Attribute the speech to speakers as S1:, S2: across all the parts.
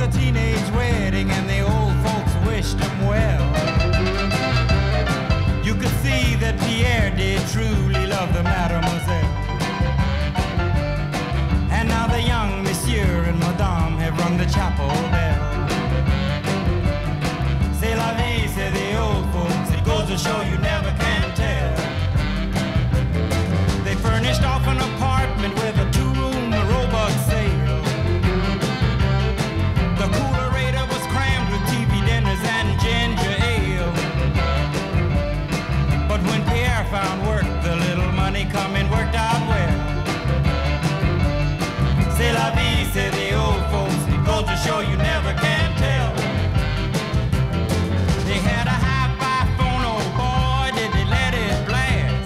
S1: a teenage wedding and the old folks wished him well. You could see that Pierre did truly love the mademoiselle. And now the young monsieur and madame have rung the chapel bell. C'est la vie, say the old folks, it goes to show you never can tell. They furnished off an apartment with a two-room robot sale. The coolerator was crammed with TV dinners and ginger ale. But when Pierre found work, the little money coming worked out well. C'est la vie, say the old folks. It goes to show you never can tell. They had a high-fi phone, oh boy, did they let it blast.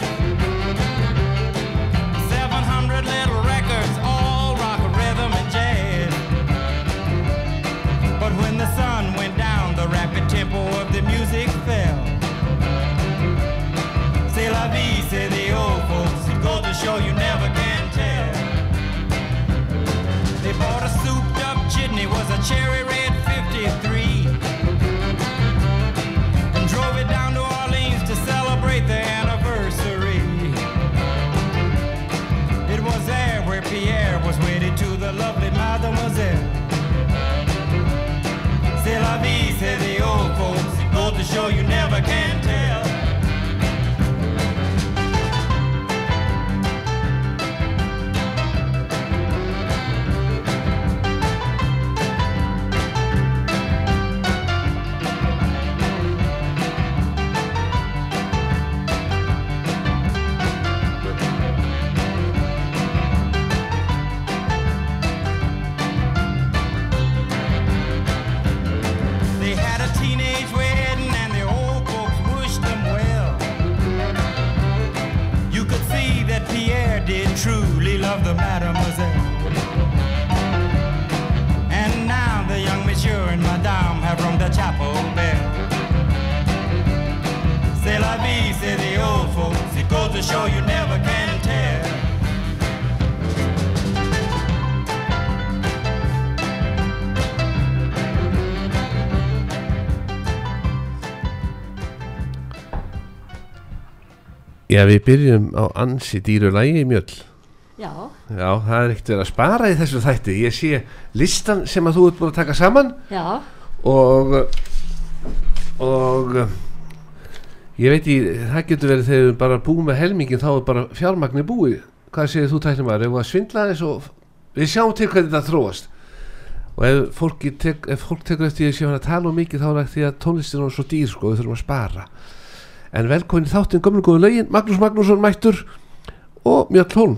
S1: 700 little records, all rock, rhythm, and jazz. But when the sun went down, the rapid tempo of the music fell. C'est la vie, say the old folks. It goes to show you never can tell. They bought a souped up chitney, was a cherry red 53. And drove it down to Orleans to celebrate the anniversary. It was there where Pierre was wedded to the lovely Mademoiselle. C'est la vie, say the old folks. It goes to show you never can tell. They had a teenage wedding and the old folks wished them well. You could see that Pierre did truly love the mademoiselle. And now the young monsieur and madame have rung the chapel bell. C'est la vie, say the old folks. It goes to show you never can tell.
S2: Já, við byrjum á ansi dýru lægi mjöll
S3: Já,
S2: Já, það er ekkert verið að spara í þessu þætti Ég sé listan sem að þú ert búin að taka saman
S3: já,
S2: og og ég veit í, það getur verið þegar við bara búum með helmingin þá er bara fjármagni búið hvað segir þú tæknum að, ef að svindla þess og við sjáum til hvernig það þróast og ef fólk, tek, ef fólk tekur eftir ég sé hann að tala um mikið þá er það því að tónlistin er svo dýr sko, við þurfum að spara en velkomin í þáttinn gömlu góðu lögin Magnús Magnússon mættur og Mjöld Hólm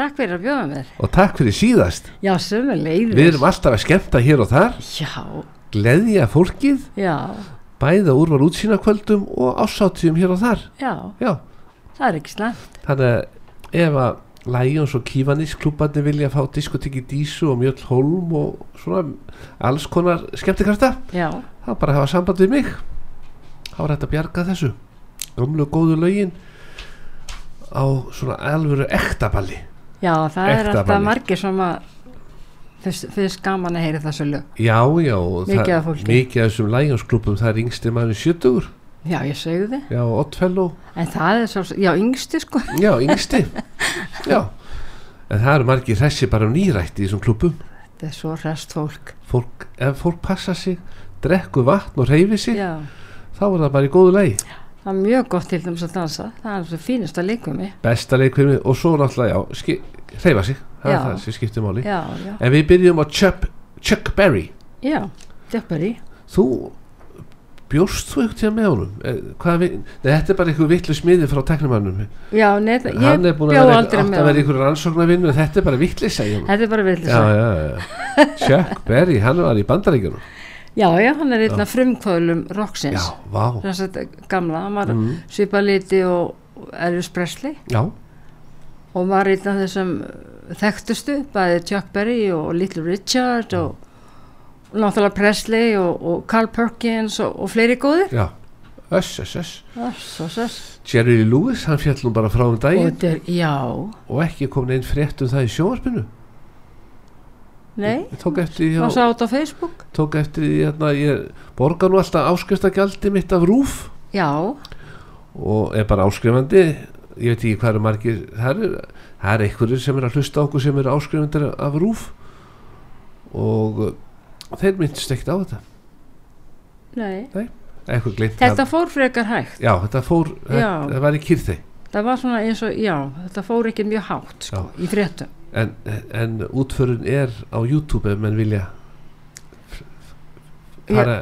S3: takk fyrir að bjóða mér
S2: og takk fyrir síðast
S3: Já, sömu leiðis
S2: við erum alltaf að skemmta hér og þar
S3: Já,
S2: gleðja fólkið
S3: já,
S2: bæða úrval útsýnakvöldum og ásáttíðum hér og þar
S3: já,
S2: já,
S3: það er ekki slæmt
S2: þannig að ef að Lions og Kivanis klubbarnir vilja fá diskoteki Dísu og Mjöll Holm og svona alls konar skemmtikarta
S3: Já,
S2: þá bara hafa samband við mig þá er hægt að bjarga þessu gömlu og góðu lögin á svona alvöru ektaballi
S3: já, það er
S2: Ekta
S3: alltaf
S2: balli.
S3: margir sem að fyrst, fyrst gaman að heyra þessu lög
S2: já, já og
S3: Mikið
S2: það-
S3: af fólki.
S2: mikið af þessum Lions klubum það er yngstir maður sjötugur
S3: Já, ég segðu þið
S2: já, Oddfellow
S3: En það er svo, já, yngsti sko
S2: Já, yngsti Já, en það eru margir hressi bara um nýrætt í þessum klubum
S3: Þetta er svo rest fólk
S2: fólk, Ef fólk passa sig, drekku vatn og reyfi sig
S3: Já,
S2: þá er það bara í góðu lagi
S3: það er mjög gott til dæmis að dansa Það er svo fínast að leikum mig
S2: Besta leikfirmi og svo náttúrulega, já, ski, reyfa sig Það
S3: Já.
S2: er það sem skiptir máli
S3: Já, já,
S2: En við byrjum á Chuck, Chuck Berry
S3: já, djöppar í
S2: Þú, bjóst þú eitthvað með honum? Eh, Hvað við, nei, þetta er bara eitthvað vitlu smiði frá teknumannum
S3: Já, neð,
S2: Hann
S3: ég
S2: er búin
S3: bjó
S2: að vera,
S3: aldrei
S2: átt
S3: með
S2: að vera
S3: honum.
S2: ykkur rannsóknarvinn en þetta er bara vitlu, segjum
S3: Þetta er bara villis
S2: Já, já, já, Chuck Berry, hann var í bandaríkjunum
S3: já, já, hann er einna frumkvölum roksins
S2: Já, vá,
S3: þess að gamla, hann var mm. svipaliti og Elvis Presley
S2: já,
S3: og var einn af þessum þekktustu, bæði Chuck Berry og Little Richard og náttúrulega Presley og, og Carl Perkins og, og fleiri góðir
S2: já Öss, öss, öss
S3: Ass, ass, ass.
S2: Jerry Lee Lewis, hann fjall nú bara frá um
S3: og
S2: daginn
S3: þetta er, já
S2: og ekki komin einn frétt um það í sjónvarpinu
S3: nei,
S2: Ég tók eftir,
S3: maður sá
S2: já,
S3: þetta á Facebook
S2: tók eftir því, hérna, ég borga nú alltaf áskriftagjaldi mitt af rúf
S3: já,
S2: og er bara áskrifandi ég veit ekki hvað eru margir það er, það er einhverjir sem er að hlusta á okkur sem eru áskrifandir af rúf og uh, þeir myndist ekkert á þetta
S3: nei
S2: eitthvað gleymt
S3: þetta fór frekar hægt
S2: já, þetta fór, þetta,
S3: Já.
S2: það var í kýrþi
S3: það var svona eins og, já, þetta fór ekki mjög hátt sko, í fréttum
S2: en, en útförun er á YouTube ef menn vilja f- f- fara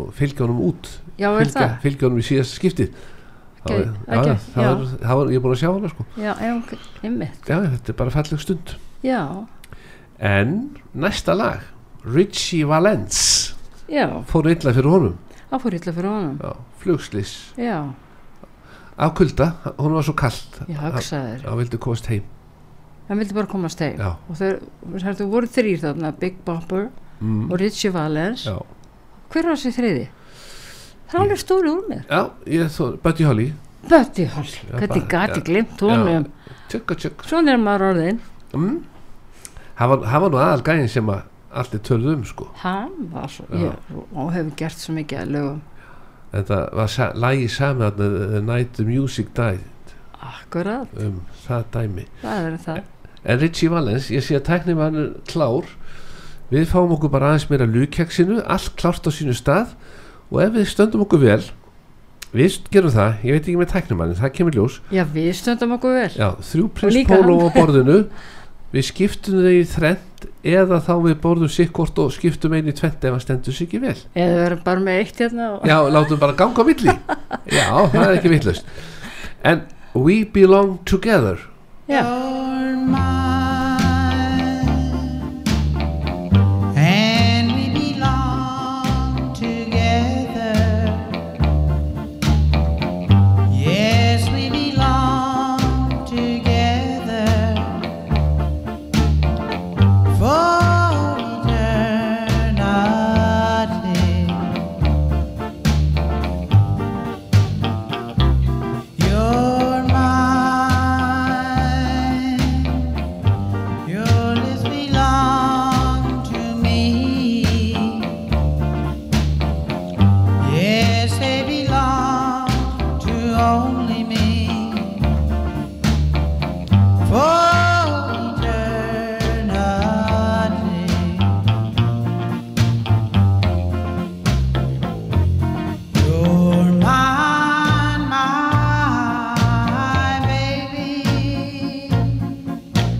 S2: og fylgja honum út
S3: já, er
S2: fylgja,
S3: það,
S2: fylgja honum í síðasta skiptið þá er-
S3: Gegn- að
S2: já,
S3: gegn-
S2: það
S3: já.
S2: var, það var, ég er búin að sjá hana sko.
S3: já, já, ok, einmitt
S2: já, þetta er bara falleg stund
S3: já,
S2: en næsta lag Richie Valens
S3: já,
S2: fór illa fyrir honum
S3: það fór illa fyrir honum
S2: já, flugslis
S3: já,
S2: af kulda, hún var svo kallt
S3: ég
S2: hann
S3: hugsaði þér
S2: hann vildi komast heim
S3: hann vildi bara komast heim
S2: já,
S3: og þeir, þeir voru þrýr þarna Big Bopper
S2: mm,
S3: og Richie Valens
S2: já.
S3: hver var þessi þriði? það er alveg stóri úr mér
S2: já ég þó, Buddy Holly
S3: Buddy Holly,
S2: Já,
S3: hvernig
S2: bara-
S3: gati
S2: já.
S3: glimt honum
S2: tjökk og tjökk
S3: svona er maður orðin
S2: mm. hann, var, hann var nú aðal gæðin sem að allir tölðu um sko
S3: hann var svo,
S2: Já.
S3: ég, og hefur gert svo mikið að lögum
S2: en það var sa, lagi sami þarna, The Night the Music Died
S3: akkurat,
S2: um það dæmi
S3: það er það
S2: en Richie Valens, ég sé að tæknir hann er klár við fáum okkur bara aðeins meira lukjaksinu, allt klárt á sínu stað og ef við stöndum okkur vel við gerum það, ég veit ekki með tæknumannin, það kemur ljós
S3: já, við stöndum okkur vel
S2: Já, þrjú prins
S3: líka
S2: póló á
S3: hann.
S2: borðinu við skiptum þau í þrend eða þá við borðum sikkort og skiptum einu í tvent ef hann stendur sig ekki vel
S3: eða við erum bara með eitt hérna og,
S2: Já, látum bara ganga á milli Já, það er ekki vittlust En We Belong Together
S3: já,
S4: You're mine, and we belong together. Yes, we belong together for eternity. You're mine. Your lips belong to me. Yes, they belong to only me. For eternity. You're mine, my baby,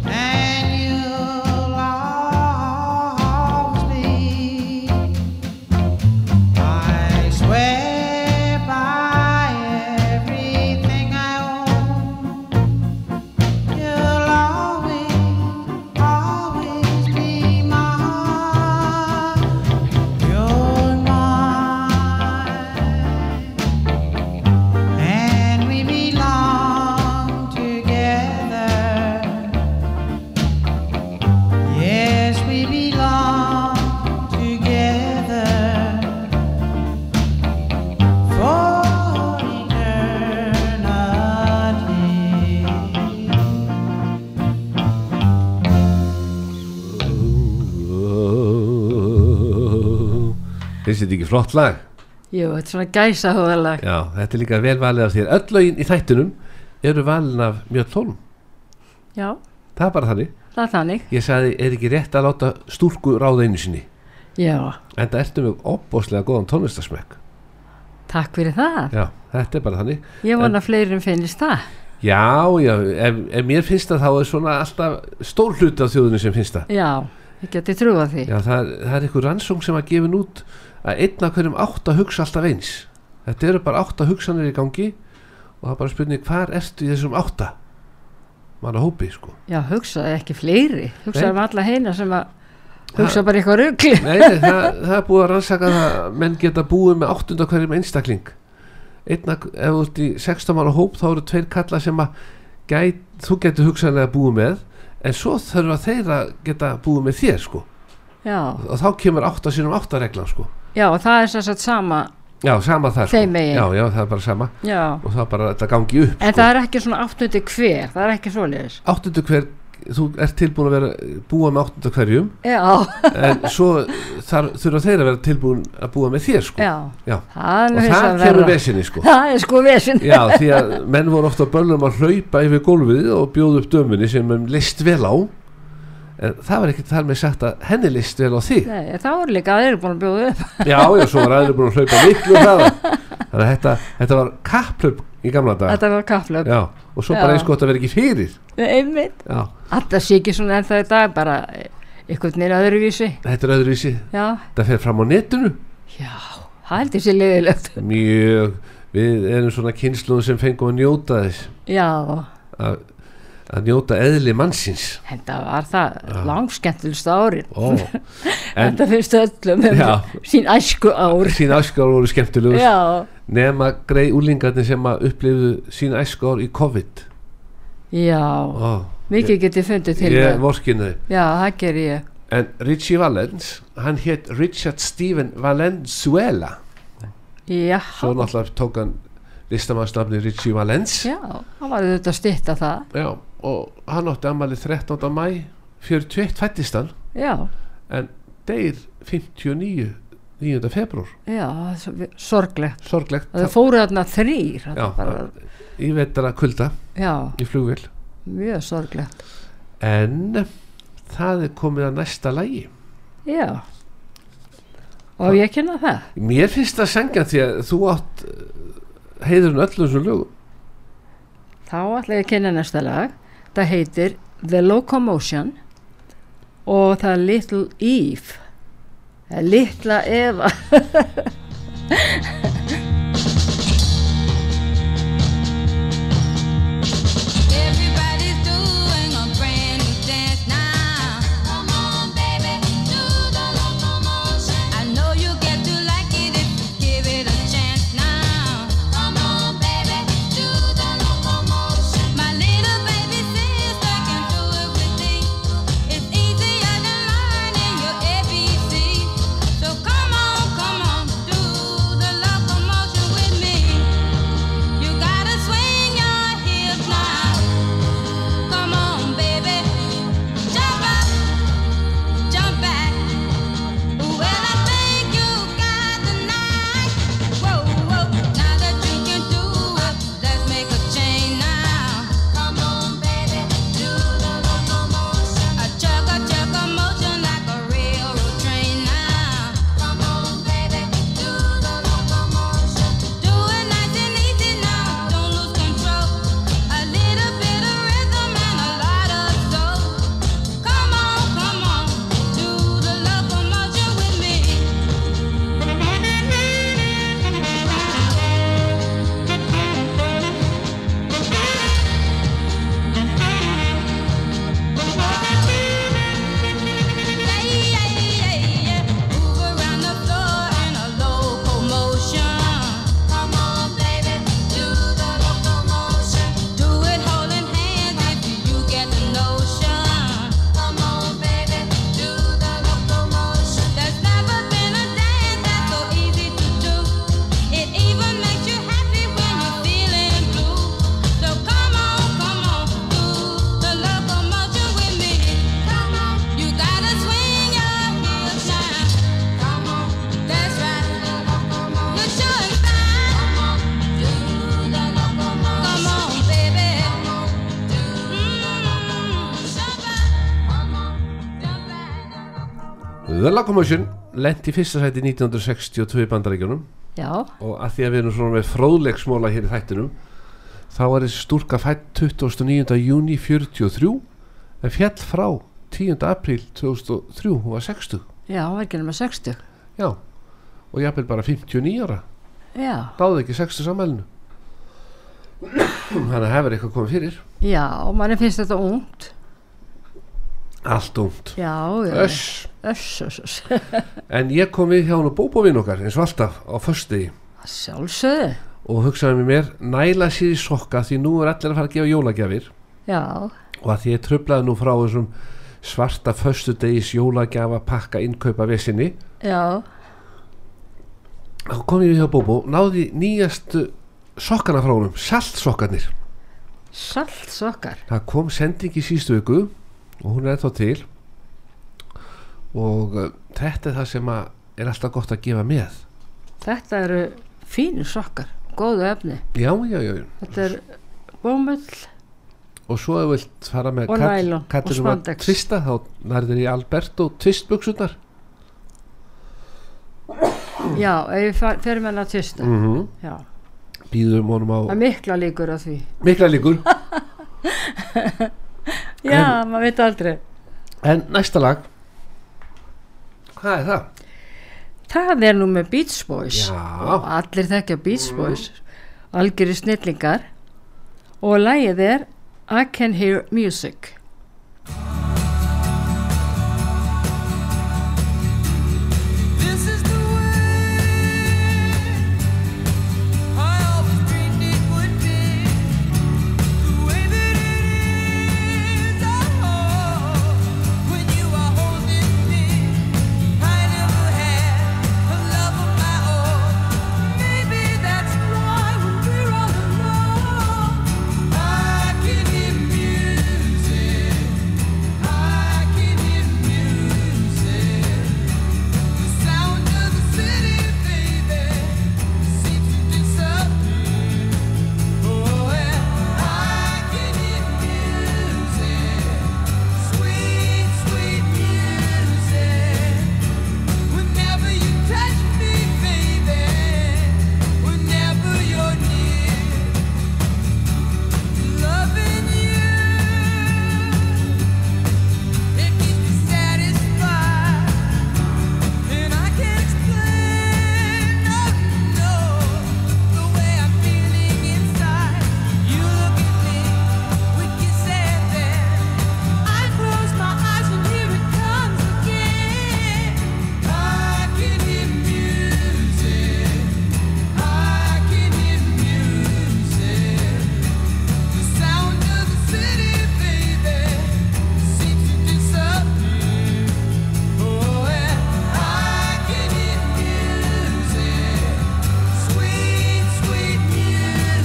S4: and you'll always be. I swear by everything I own, you'll always, always be mine. You're mine, and we belong together. Yes, we belong together for eternity.
S2: Finnst þetta ekki flott lag?
S3: jú, þetta er svona gæsa hóðalag
S2: Já, þetta er líka vel valið af þér Öll lögin í þættinum eru valin af mjög tólum
S3: já,
S2: Það er bara þannig
S3: það er þannig
S2: Ég sagði, er ekki rétt að láta stúlku ráða einu sinni
S3: já,
S2: En það ertu með opbóðslega góðan tónlistasmekk
S3: takk fyrir það
S2: Já, þetta er bara þannig
S3: ég vona að fleirin finnist það
S2: Já, já, ef, ef mér finnst það þá er svona alltaf stór hluti á þjóðinu sem finnst það.
S3: já, ég geti trúa því
S2: Já, það, er- það er einhver rannsókn sem að gefa út að einn af hverjum átt að hugsa alltaf eins. Þetta eru bara átta hugsanir í gangi og það er bara spurning hvar ertu í þessum átta? Manna hópi, sko.
S3: já, hugsaði ekki fleiri hugsaði
S2: Nei.
S3: um alla heina sem að hugsa bara eitthvað rugli
S2: Nei, nei það, það er búið að rannsaka það að menn geta búið með áttund af hverjum einstakling. Einn af, ef þú ert í 16 manna hóp þá eru tveir kalla sem að gæt, þú getur hugsanlega búið með en svo þurfa þeir að geta búið með þér, sko.
S3: já,
S2: og þá kemur 8 sinum 8 reglan sko.
S3: já, og það er sem sagt sama
S2: já, sama það sko.
S3: Þeim megin.
S2: já, já, það er bara sama
S3: já,
S2: og það er bara þetta gangi upp sko.
S3: en það er ekki svona áttundi hver það er ekki svoleiðis
S2: 8. hver þú ert tilbúin að vera búa með 8. hverjum
S3: já,
S2: en svo þar, þurfa þeir að vera tilbúin að búa með þér sko
S3: já,
S2: Já.
S3: það er nú
S2: og
S3: hins
S2: það
S3: vegar
S2: kemur
S3: verra.
S2: vesinni sko
S3: það er sko vesin
S2: Já, því að menn voru ofta börnum að hlaupa yfir gólfið og bjóðu upp dömunni sem þeim leist vel á en það var ekkert þar með sagt að henni leist vel á þig
S3: Nei, það voru líka aðeir búin að bjóða upp
S2: Já, já, svo var aðri búin að hlaupa miklu hraða þannig að þetta, þetta var kapplöp í gamla dag
S3: þetta var kaplöp,
S2: Já, og svo
S3: Já.
S2: bara eins gott að vera ekki fyrir
S3: einmitt
S2: Já,
S3: alltaf sé ekki svona ennþá í dag bara eh, einhvern veginn öðruvísi
S2: þetta er öðruvísi
S3: já,
S2: þetta fer fram á netinu
S3: já, það held ég sér leiðilegt
S2: mjög, við erum svona kynsluðum sem fengum að njóta þess
S3: já,
S2: að, að njóta eðli mannsins
S3: þetta var það langskemmtilegst árin
S2: Ó, en
S3: þetta finnst öllum um
S2: Já.
S3: sín æsku ár
S2: sín æskar voru skemmtilegur
S3: já,
S2: nema grei úlingarnir sem að upplifðu sín æskar í COVID
S3: já,
S2: Ó,
S3: mikið getið fundið til
S2: ég
S3: það
S2: vorkinu þau
S3: já, það ger ég
S2: en Richie Valens, hann hétt Richard Steven Valenzuela
S3: já,
S2: svo náttúrulega tók hann listamannsnafni Richie Valens
S3: já, það var auðvitað að stytta það
S2: Já, og hann átti ammali 13. mæ 41 fættist hann
S3: já,
S2: en deyr 59 9. februar,
S3: já, það er svo- sorglegt
S2: sorglegt
S3: það fóru þarna þrýr
S2: Já,
S3: bara,
S2: í vettara kulda
S3: já,
S2: í flugvél
S3: mjög sorglegt
S2: en það er komið að næsta lægi
S3: já og ég kynna það
S2: mér finnst það sengja því að þú átt eh, heiðurinn öllum sem lögum
S3: Þá ætla ég að kynna næsta lag. Það heitir The Locomotion og það er Little Eve. Það er Litla Eva.
S5: Everybody's doing a brand new dance now. Come on, baby, do the locomotion. I know you get to like it if you give it a chance now. Come on, baby, do the locomotion. My little baby sister can do it with me. It's easier than learning your ABC. So come on, come on, do the locomotion with me. You gotta swing your hips now. Come on, baby. Jump up, jump back. Well, I think you got the night. Whoa, whoa. Now that you can do it, let's make a chain now. Come on, baby. Do the locomotion. A chug a chug motion like a railroad train now. Come on, baby. Do the locomotion. Do it nice and easy now. Don't lose control. A little bit of rhythm and a lot of soul. Come on, come on, do the locomotion with me. Yeah, yeah, yeah, move around the floor in a locomotion. Come on, baby, do the locomotion. Do it holding hands if you get the notion. Come on, baby, do the locomotion. There's never been a dance that's so easy to do. It even makes you happy when you're feeling blue. So come on, come on, do the locomotion with me. Come on, you gotta swing your hips now. Come on, that's right. You're showing signs. Come on, do the locomotion. Come on, baby. Mm, jump up. Come on, jump back.
S2: The Locomotion lent í fyrsta sæti 1962 í bandaríkjunum
S3: Já,
S2: og að því að við erum svona með fróðleiksmóla hér í þættinum þá var þessi stúrka fætt 29. júni 43 en fjall frá 10. apríl 2003 hún var 60
S3: já, hún var ekki nema 60.
S2: já og jafnvel bara 59 ára
S3: Já,
S2: dáði ekki 60 sammælinu þannig að hefur eitthvað komið fyrir
S3: já, og manni finnst þetta ungt.
S2: allt ungt
S3: Já, já.
S2: Öss.
S3: Öss, öss, öss.
S2: en ég kom við hjá hún og bóbovinn okkar eins og alltaf á föstudegi
S3: Að Sjálfsögðu.
S2: og hugsaði með mér næla sér í sokka því nú er allir að fara að gefa jólagjafir
S3: Já,
S2: og að því ég tröflaði nú frá þessum svarta föstudegis jólagjafa pakka innkaupa vesinni
S3: já,
S2: þá kom ég við hjá Bóbó, náði í nýjastu sokkana frá honum, saltsokkanir
S3: salt sokkar.
S2: það kom sending í sístu viku og hún er ennþá til og uh, þetta er það sem að er alltaf gott að gefa með
S3: Þetta eru fínu sokkar, góðu efni.
S2: já, já, já, já.
S3: Þetta er bómull,
S2: og svo ef þú vilt fara með
S3: Og
S2: kall-
S3: nælon og
S2: kallinum að
S3: spandex.
S2: tvista þá nærður í Alberto tvistbuksunar
S3: já, ef við fa- ferum hennar tvista.
S2: mm
S3: Já,
S2: býðum honum á
S3: það er mikla líkur á því.
S2: mikla líkur
S3: Já, maður veit aldrei.
S2: en næsta lag hvað er það?
S3: Það er nú með Beach Boys. og
S2: já, Mm.
S3: allir þekkja Beach Boys algjörir snillingar og lægið er I Can Hear Music
S6: This is the way I always dreamed it would be. The way that it is at home when you are holding me. I never had a love of my own. Maybe that's why when we're all alone, I can hear music. I can hear music. The sound of the city, baby, seems to disappear. Oh, and I can hear music, sweet, sweet music. Whenever you touch me, baby, whenever you're near, loving you, it keeps me satisfied. And I can't explain, no, the way I'm feeling inside. You look at me, we kiss and then I close my eyes and here it comes again. I can hear music. I can hear music. The sound of the city, baby, seems to disappear. Oh, and I can hear music, sweet, sweet music.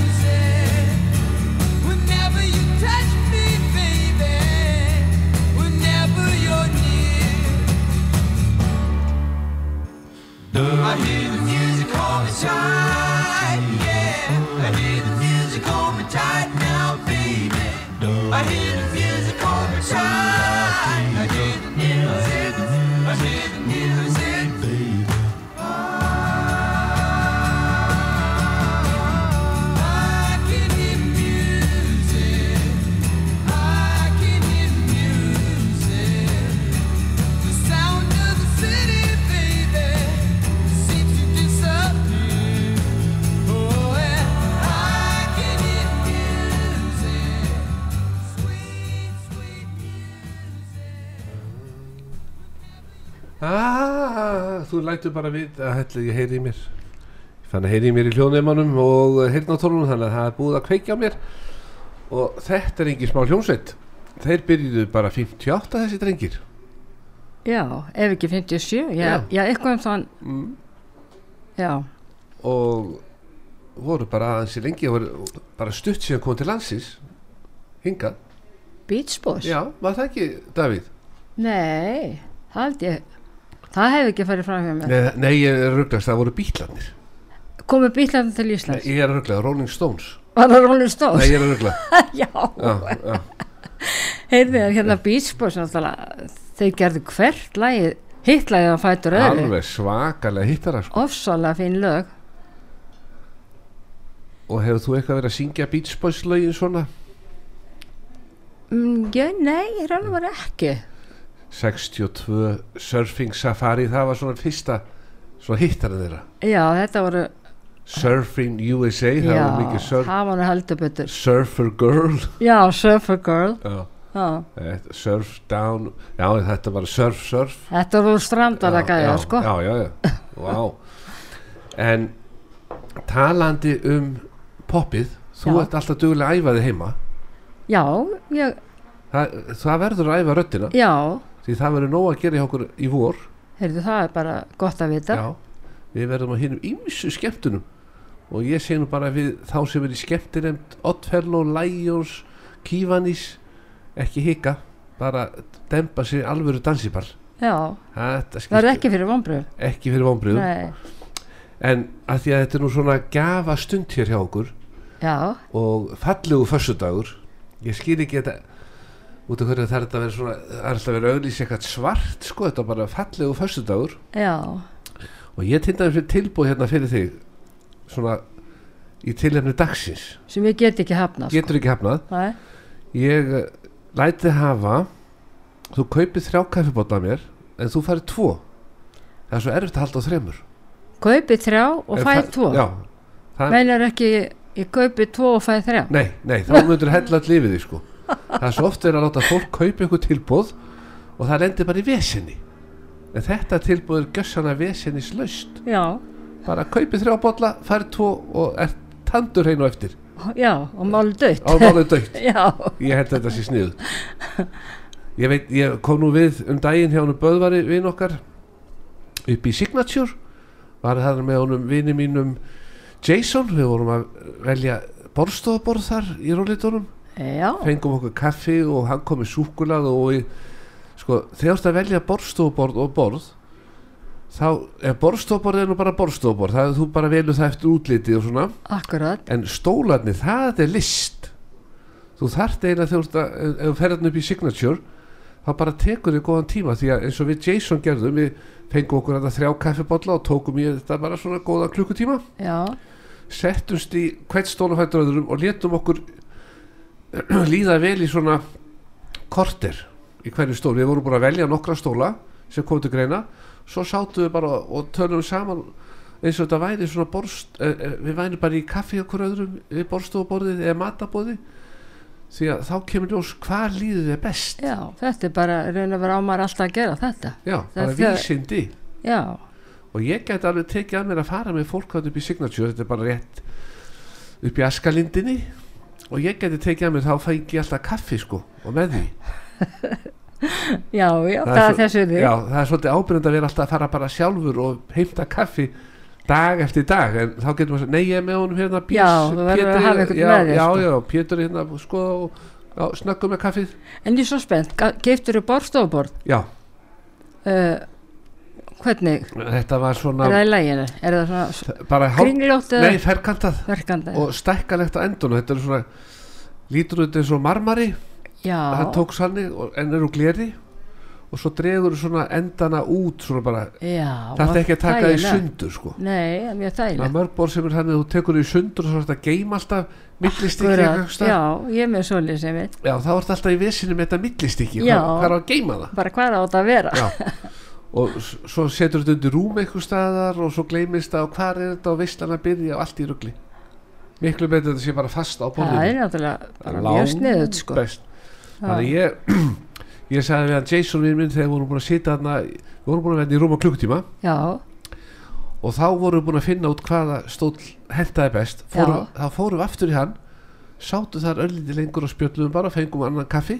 S6: Whenever you touch me, baby, whenever you're near, I hear the music on me tight, yeah. I hear the music on me tight now, baby. I hear the music on me tight. I hear the music. I hear the music. I can hear music. I can hear music. The sound of the city, baby, seems to disappear. Oh, and I can hear music. Sweet, sweet music.
S2: ah, þú lætur bara við að hellu ég heyri í mér þannig heyri í mér í hljóðneimanum og heyrnatólunum þannig að það er búið að kveikja á mér og þetta er engin smá hljómsveit þeir byrjuðu bara 58 þessi drengir
S3: já, ef ekki 57 já,
S2: Já. Mm.
S3: já. eitthvað um þann já,
S2: og voru bara aðeins í lengi og voru bara stutt síðan komið til landsins hingað,
S3: Beach Boys
S2: já, var það ekki Davíð?
S3: nei, það held ég það hefði ekki farið fram hjá mér
S2: Nei, nei ég er rugglast, það voru bítlarnir
S3: komið bílarnir til
S2: Nei,
S3: Íslands
S2: ég er rugglast, Rolling Stones
S3: var það Rolling Stones?
S2: Nei, ég er rugglast
S3: já,
S2: já, já.
S3: heyrðu þér hérna Beach Boys náttúrulega, þeir gerðu hvert lagið hitt lagið að fætur öðru
S2: alveg svakalega hittara sko.
S3: ofsalega fín lög
S2: og hefur þú eitthvað verið að syngja Beach Boys lögin svona
S3: mm, já, nei, ég er alveg var ekki
S2: 62 Surfing Safari, það var svona fyrsta svona hittara þeirra
S3: já, þetta voru
S2: Surfing USA, það
S3: já,
S2: var mikið surf,
S3: það var nú heldur betur
S2: Surfer Girl
S3: Já, Surfer Girl
S2: já
S3: já.
S2: Þetta- Surf down Já þetta var surf surf
S3: Þetta voru strandara gæja,
S2: já,
S3: sko
S2: Já já já Vá En talandi um poppið Þú
S3: Já.
S2: ert alltaf duglega að æfa þig heima
S3: Já, ég,
S2: Það, það verður að æfa röddina
S3: já
S2: Því það verður nóg að gera hjá okkur í vor
S3: heyrðu, það er bara gott að vita
S2: Já Við verðum á hinum ýmsu skemmtunum Og ég segi nú bara við þá sem er í skemmtinemnd Oddfellow, Lions, Kívanis Ekki hika bara dempa sér alvöru dansipar
S3: já,
S2: þetta
S3: það er
S2: skiptir
S3: ekki fyrir vonbröð
S2: ekki fyrir vonbröðum
S3: nei,
S2: en að því að þetta er nú svona gafa stund hér hjá okkur
S3: já,
S2: og fallegu fössudagur ég skil ekki þetta út af hverju það er þetta að vera svona það er alltaf að vera auðlýs eitthvað svart sko þetta er bara fallegu fössudagur
S3: já
S2: og ég til dæmis fyrir tilbúið hérna fyrir þig svona í tilhefni dagsins
S3: sem ég get ekki hafna sko.
S2: getur ekki hafnað
S3: Nei,
S2: ég eh, læt þið hafa þú kaupir þrjá kaffibóta af mér en þú farið tvo það er svo erfitt að halda á þremur
S3: kaupi þrjá og
S2: En
S3: fæ
S2: það-
S3: tvo
S2: já, það, nei.
S3: meinar ekki, ég kaupi tvo og fæ þrjá
S2: nei, þá myndur hella all lífið því sko það er svo oft verið að láta fólk kaupa einhver tilbúð og það lendir bara í vesenni en þetta tilbúð er gjössana vesenni slöst
S3: já,
S2: bara kaupir þrjá bolla, farið tvo og er tandur hreinu á eftir
S3: já, og máli dött
S2: á málið dögt
S3: já,
S2: ég held þetta sé sniðu ég veit, ég kom nú við um daginn hjá honum Böðvari vin okkar upp í Signature var það með honum vini mínum Jason, við vorum að velja borðstofaborð þar í rólitunum
S3: já,
S2: fengum okkur kaffi og hann kom með súkulað og í, sko, þegar það velja borðstofaborð og borð þá er borðstofaborð er nú bara borðstofaborð það er þú bara velur það eftir útliti og svona
S3: akkurat
S2: en stólarnir, það er list þú þarft eiginlega þegar þú ert að- ef ef þú ferðan upp í Signature þá bara tekur þið góðan tíma því að eins og við Jason gerðum við fengum okkur þetta þrjá kaffibotla og tókum í þetta bara svona góða klukkutíma
S3: já,
S2: settumst í hvert stólafættur öðrum og letum okkur líða vel í svona korter í hverju stól við vorum búin að velja nokkra stóla sem kom til greina svo sátum við bara og tölum saman eins og þetta væri svona borst eh, eh, við væri bara í kaffi okkur öðrum við borstofuborðið eða matabóði því að þá kemur ljós hvað líður þið best
S3: já, þetta er bara raun og vera á maður alltaf að gera þetta
S2: já, bara
S3: Það-
S2: vísindi
S3: já,
S2: og ég gæti alveg tekið að mér að fara með fólk þarna upp í Signature, þetta er bara rétt upp í askalindinni og ég gæti tekið að mér þá fæk ég alltaf kaffi sko og með því
S3: já, já, það er
S2: svo-
S3: þessu því
S2: já, það er svolítið ábyrjandi að vera alltaf að fara bara sjálfur og heimta kaffi dag eftir dag en þá getur maður að nei ég er með honum hérna Björns,
S3: Já, þú verður að
S2: Pétur-
S3: hafa einhvern
S2: já,
S3: með þér,
S2: já,
S3: sko.
S2: já, Pétur er hérna sko og já, snöggum með kaffið
S3: En ég er svo spennt, geiftur þú borstofuborð?
S2: já,
S3: Uh, hvernig?
S2: þetta var
S3: Er
S2: svona
S3: það í læginu? Er það svona
S2: bara hálf,
S3: kringljótt eða
S2: nei, ferkantað
S3: verkandi?
S2: og stækkalegt á endunum þetta er svona, lítur út eins og marmari
S3: Já,
S2: hann tók sannig og, en eru gleri og svo dregur svona endana út svona bara,
S3: já.
S2: það er ekki að taka því
S3: þægilegt.
S2: sundur sko
S3: Nei, það er mjög
S2: það er
S3: þægilegt.
S2: mörg borð sem er þannig að þú tekur því sundur og svo er þetta geim alltaf millistykki
S3: Akkurat,
S2: ah, já.
S3: Já, ég er með svolítið sem ég,
S2: já, þá er þetta alltaf í vesinu með þetta millistykki
S3: Já.
S2: hvað hvað er á að geima það
S3: bara hvað á þetta að vera?
S2: Já. og s- svo setur þetta undir rúm eitthvað staðar og svo gleymist það og hvað er þetta og veistlan að byrja og allt í rugli miklu betur þetta sé bara fast á
S3: það er
S2: borðinu
S3: náttúrulega bara mjög sniðut, sko.
S2: best Þannig að ég, ég sagði við hann Jason minn minn þegar við vorum búin að sitja þarna, við vorum búin að vera hérna í rúma klukkutíma
S3: Já,
S2: og þá vorum við búin að finna út hvaða stóll hentaði best. Fórum, þá fórum við aftur í hann, sátum þar öllítið lengur og spjöllum bara, fengum annan kaffi,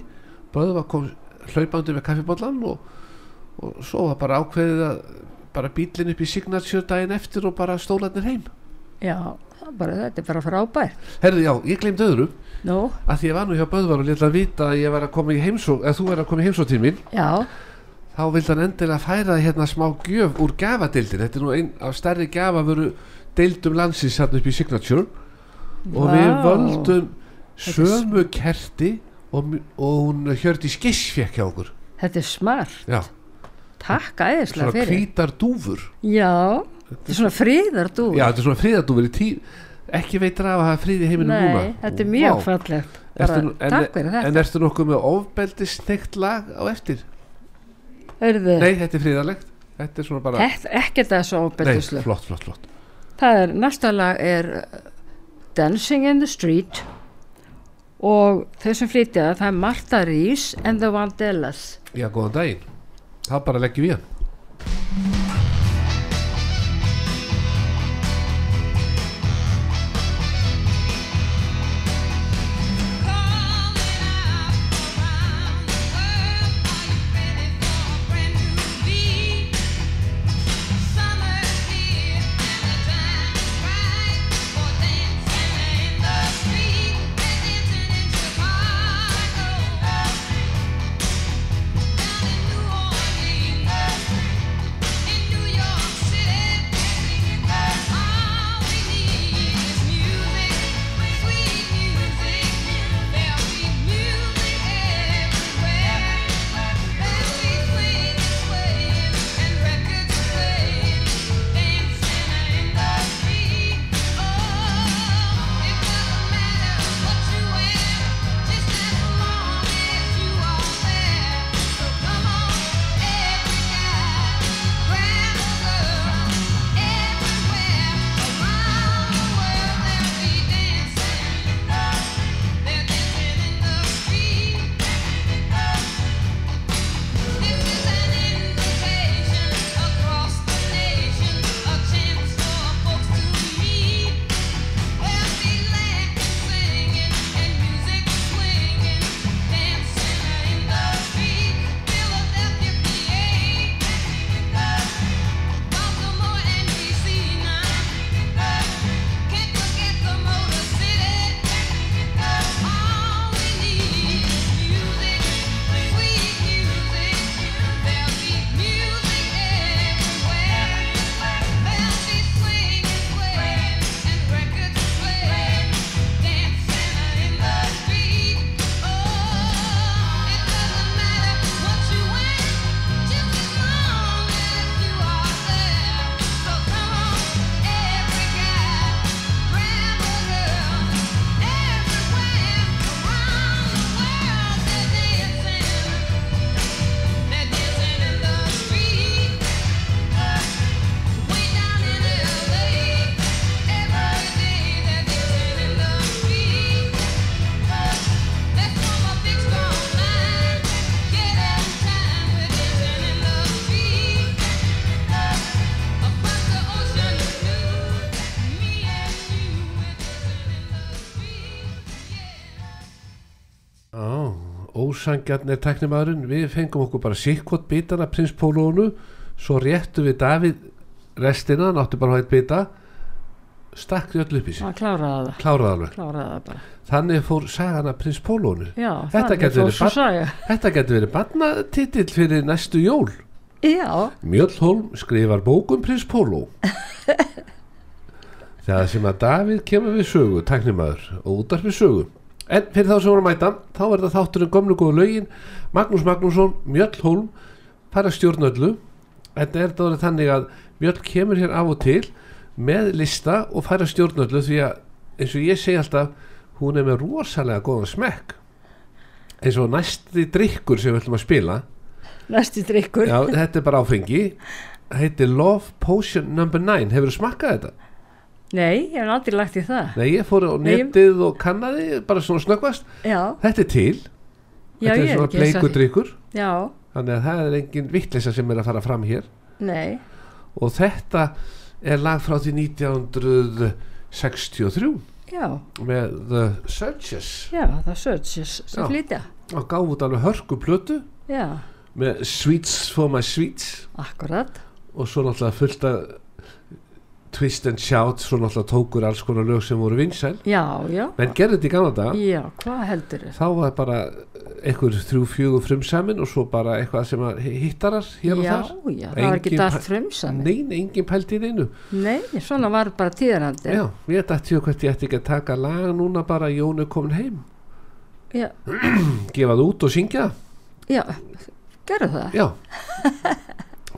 S2: bróðum að kom hlaupandi með kaffibollan og, og svo var bara ákveðið að bara bílinn upp í Signature daginn eftir og bara stólarnir heim.
S3: já, það er bara, þetta er bara frábær.
S2: Herðu, já, ég gleymd öðru
S3: Nú,
S2: að því ég var nú hjá Böðvar og létt að vita að ég var að koma í heimsó, að þú var að koma í heimsó til mín
S3: já,
S2: þá vildi hann endilega færa þér hérna smá gjöf úr gafadildin, þetta er nú einn af stærri gafavöru deildum landsins hérna upp í Signature og við
S3: Vá.
S2: völdum
S3: Þetta er s-
S2: sömu kerti og, mi- og hún hjördi skiss fekk hjá okkur
S3: þetta er smart.
S2: Já,
S3: Takk æðislega
S2: svona
S3: fyrir.
S2: hvítar dúfur
S3: Já, þetta er svona fríðardúr.
S2: Já, þetta er svona friðardúfur í tí ekki veitir af að hafa frið í heiminum núna
S3: Nei, þetta er mjög
S2: Vá.
S3: fallegt. Bara,
S2: Ertu nú-
S3: takk fyrir
S2: en,
S3: þetta.
S2: en ertu nokkuð með ofbeldi snyggt lag á eftir?
S3: Hörðu,
S2: Nei, þetta er friðarlegt Þetta er svona bara
S3: þetta ekkert að svo
S2: Nei,
S3: ábættislu.
S2: flott, flott, flott
S3: Það er, næsta lag er uh, Dancing in the Street og þau sem flytja það, það er Martha Rees and the Vandellas.
S2: Já, góðan daginn. Það bara leggjum við hann.
S5: Thank
S2: ósangjarn er tæknimaðurinn við fengum okkur bara sikkot bitana prins Pólónu svo réttu við David restina, hann átti bara hægt bita stakk því öll upp í sig
S3: hann kláraði það
S2: kláraði alveg,
S3: kláraði það bara
S2: þannig fór sagan að prins Pólónu
S3: já,
S2: Þetta
S3: þannig
S2: gæti
S3: fór
S2: verið
S3: sú
S2: barn-
S3: saga.
S2: þetta getur verið barnatitill fyrir næstu jól
S3: já,
S2: Mjöllholm skrifar bók um prins Póló Það sem að Davíð kemur við sögu, tæknimaður og útast við sögu En fyrir þá sem voru að mæta, þá er það þátturinn um gömlu góðu lögin Magnús Magnússon, Mjöllholm, fara stjórn öllu Þetta er það þannig að Mjöll kemur hér af og til með lista og fara stjórn öllu Því að eins og ég segi alltaf, hún er með rosalega góðan smekk Eins og næsti drikkur sem við ætlum að spila
S3: næsti drikkur
S2: Já, þetta er bara áfengi heitir Love Potion Number 9 hefur þú smakkað þetta?
S3: nei, ég hef aldrei lagt í það
S2: Nei, ég fór á
S3: Nei, ég-
S2: netið og kannaði bara svona snöggvast
S3: já,
S2: þetta er til, þetta
S3: já ég
S2: er
S3: er
S2: svona
S3: ekki hissa á
S2: bleikur
S3: því.
S2: drikkur
S3: já,
S2: þannig að það er engin vittlisa sem er að fara fram hér
S3: nei,
S2: og þetta er lag frá því 1963
S3: já
S2: með The Searchers
S3: já, það er searches
S2: Já.
S3: sem flytja
S2: og gáf út alveg hörku plötu
S3: já,
S2: með Sweets for my Sweets
S3: akkurat
S2: og svo náttúrulega fullt að Twist and Shout, svo náttúrulega tókur alls konar lög sem voru vinsæl
S3: já, já,
S2: menn gerði þetta í gamla dag
S3: já, hvað heldur
S2: þá var bara einhver þrjú fjögur frumsamin og svo bara eitthvað sem að hi- hittarar hér og
S3: já,
S2: þar
S3: já, það var ekki
S2: Engin
S3: dalt
S2: pæ-
S3: frumsami
S2: nein, engin pældi í neinu
S3: nei, svona var bara tíðarandi
S2: já, ég dætti og hvert ég ætti ekki að taka lag núna bara Jón er komin heim
S3: já,
S2: gefa það út og syngja það.
S3: já gerðu það
S2: já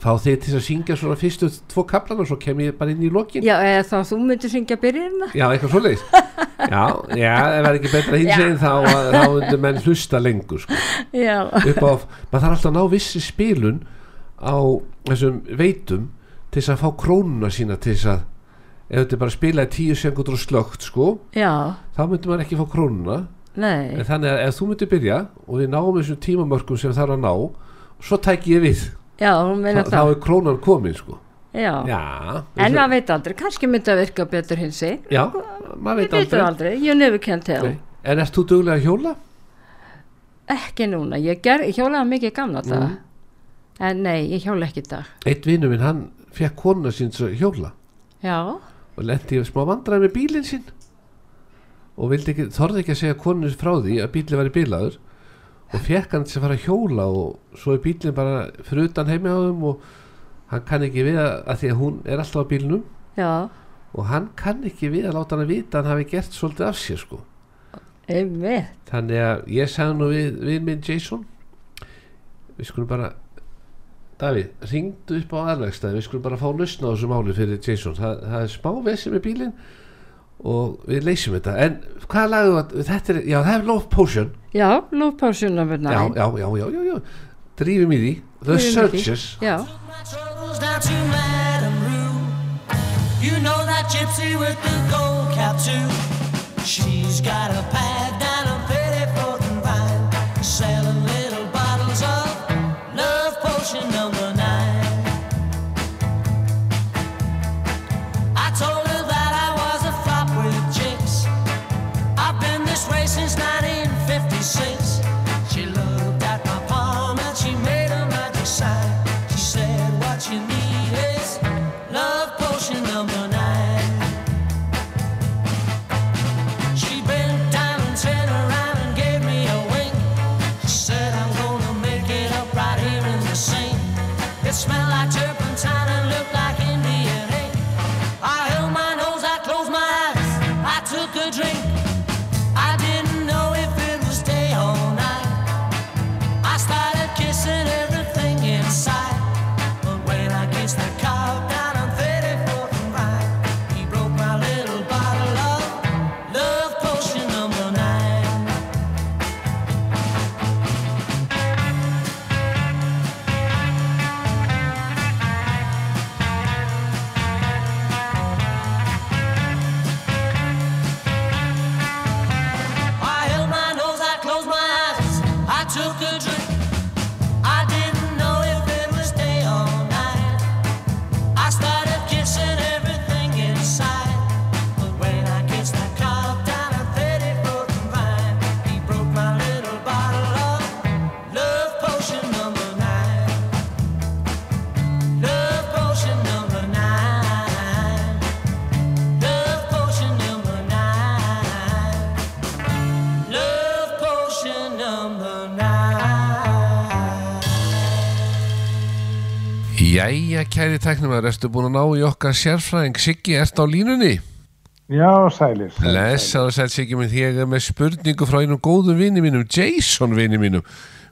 S2: fá þig til að syngja svona fyrstu tvo kaplana og svo kem ég bara inn í lokin
S3: já, eða þá þú myndir syngja byrjina
S2: Já, eitthvað svoleiðis Já, já, ef það er ekki betra hins einn þá, þá undir menn hlusta lengur sko.
S3: já,
S2: upp á, maður þarf alltaf að ná vissi spilun á þessum veitum til þess að fá krónuna sína til þess að ef þetta er bara að spila í tíu sekundur og slögt sko,
S3: já,
S2: þá myndi maður ekki fá krónuna
S3: nei
S2: en þannig að ef þú myndir byrja og við náum þessum tímamörkum sem þarf að ná svo tæki ég við,
S3: já, hún meina
S2: þá, þá
S3: það
S2: er krónan komin sko.
S3: já,
S2: Já,
S3: en maður veit aldrei kannski myndi að virka betur hinsi
S2: já, maður
S3: Við
S2: veit
S3: veitum
S2: aldrei
S3: aldrei, you never can tell
S2: Nei. En ert þú duglega að hjóla?
S3: Ekki núna, ég ger, ég hjólaði mikið í gamla dag
S2: Mm.
S3: En nei, ég hjóla ekki í dag
S2: Eitt vinnu minn, hann fekk konuna sín svo hjóla
S3: Já,
S2: og lendi í smá vandræði með bílinn sinn og vildi ekki, þorði ekki að segja konu frá því að bílinn væri bílaður og fekk hann til að fara að hjóla og svo er bílinn bara fyrir utan heimi á þeim og hann kann ekki við að, að því að hún er alltaf á bílnum
S3: já,
S2: og hann kann ekki við að láta hann að vita að hann hafi gert svolítið af sér sko
S3: einmitt
S2: þannig að ég sagði nú við, við minn Jason við skulum bara Davíð, ringdu upp á aðlægstæði við skulum bara fá lausna á þessu máli fyrir Jason Þa, það er smá vesi með bílinn og við leysum þetta en hvað lagðu að, þetta er, já það er Love Potion
S3: Já, love potion number
S2: já,
S3: 9
S2: já, já, já, já, já drífum í því, The
S3: Drífum í því.
S2: Searchers
S3: Já,
S7: My troubles down to Madame Rue. You know that gypsy with the gold cap too. She's got a pad down on 34th and Vine, selling little bottles of love potion number nine. I told her that I was a flop with chicks. I've been this way since 1956. She looked at my palm and she made a magic sign. She said, What you need is love potion number nine. She bent down and turned around and gave me a wink. She said, I'm gonna make it up right here in the sink. It smelled like turpentine and looked like Indian ink. I held my nose, I closed my eyes, I took a drink. I didn't know if it was day or night. I started kissing everything in sight. But when I kissed the cop down on 34th and Vine, he broke my little bottle of love potion number nine.
S2: Jæja, kæri tæknumæður, ertu búin að ná í okkar sérfræðing Siggi, ertu á línunni?
S8: Já, sælir. sælir, sælir.
S2: Blessaðu sæl Siggi minn, ég er með spurningu frá einum góðum vini mínum, Jason vini mínum,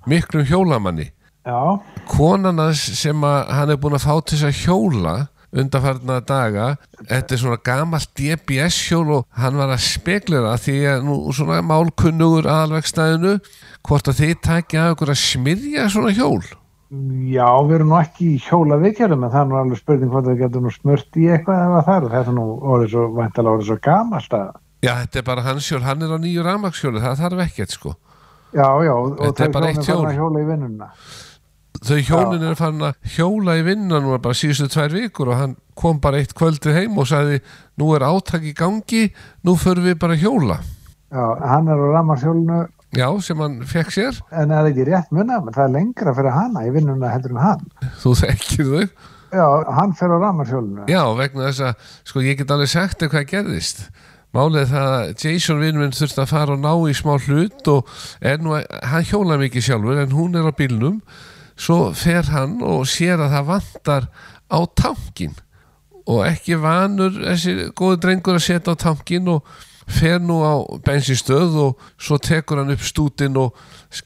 S2: miklum hjólamanni.
S8: Já,
S2: Konan hans sem að hann er búin að fá til þess að hjóla undanfarna daga, þetta er svona gamalt DBS hjól og hann var að spekla það því að nú svona málkunnugur aðalvegstæðinu, hvort að þið takja að ykkur að smyrja svona hjól?
S8: já, við erum nú ekki í hjóla viðkjörðum en það er nú alveg spurning hvort það getur nú smurt í eitthvað eða það er. Þetta er nú orðið svo, væntalega orðið svo gamalt að,
S2: Já, þetta er bara hans hjól, hann er á nýju rafmagnshjóli, það þarf ekkert sko.
S8: já, já, og
S2: Þetta er
S8: þau hjónin
S2: bara
S8: farin
S2: eitt hjól.
S8: að hjóla í vinnuna.
S2: Þau hjónin er farin að hjóla í vinna núna bara síðustu tvær vikur og hann kom bara eitt kvöldið heim og sagði nú er átak í gangi, nú förum við bara að hjóla.
S8: Já, hann er á rammarshjólinu
S2: Já, sem hann fekk sér,
S8: en það er ekki rétt munna, menn það er lengra fyrir hana í vinnuna heldur en hann.
S2: þú þekkir þau.
S8: Já, hann fer á rammarshjólinu.
S2: Já, vegna þess að, sko, ég get alveg sagt þér hvað gerðist. Málið er það að Jason vinn minn þurfti að fara og ná í smá hlut og er nú að, hann hjóla mikið sjálfur en hún er á bílnum, svo fer hann og sér að það vantar á tankin og ekki vanur þessi góði drengur að setja á tankin og fer nú á bensinstöð og svo tekur hann upp stútin og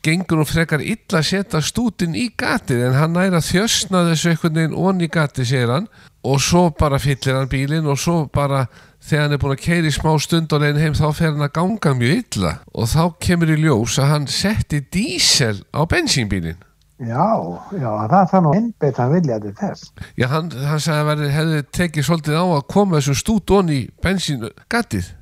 S2: gengur nú frekar illa að setja stútin í gatið en hann næra þjösna þessu einhvern veginn onni gatið segir hann og svo bara fyllir hann bílinn og svo bara þegar hann er búin að keiri smá stund og leginn heim þá fer hann að ganga mjög illa og þá kemur í ljós að hann setti dísel á bensínbílinn
S8: Já, já, það er það nú einbeitt hann vilja til þess.
S2: Já, hann, hann sagði að verði, hefði tekið svolítið á að koma þessu stút onni í bensíngatið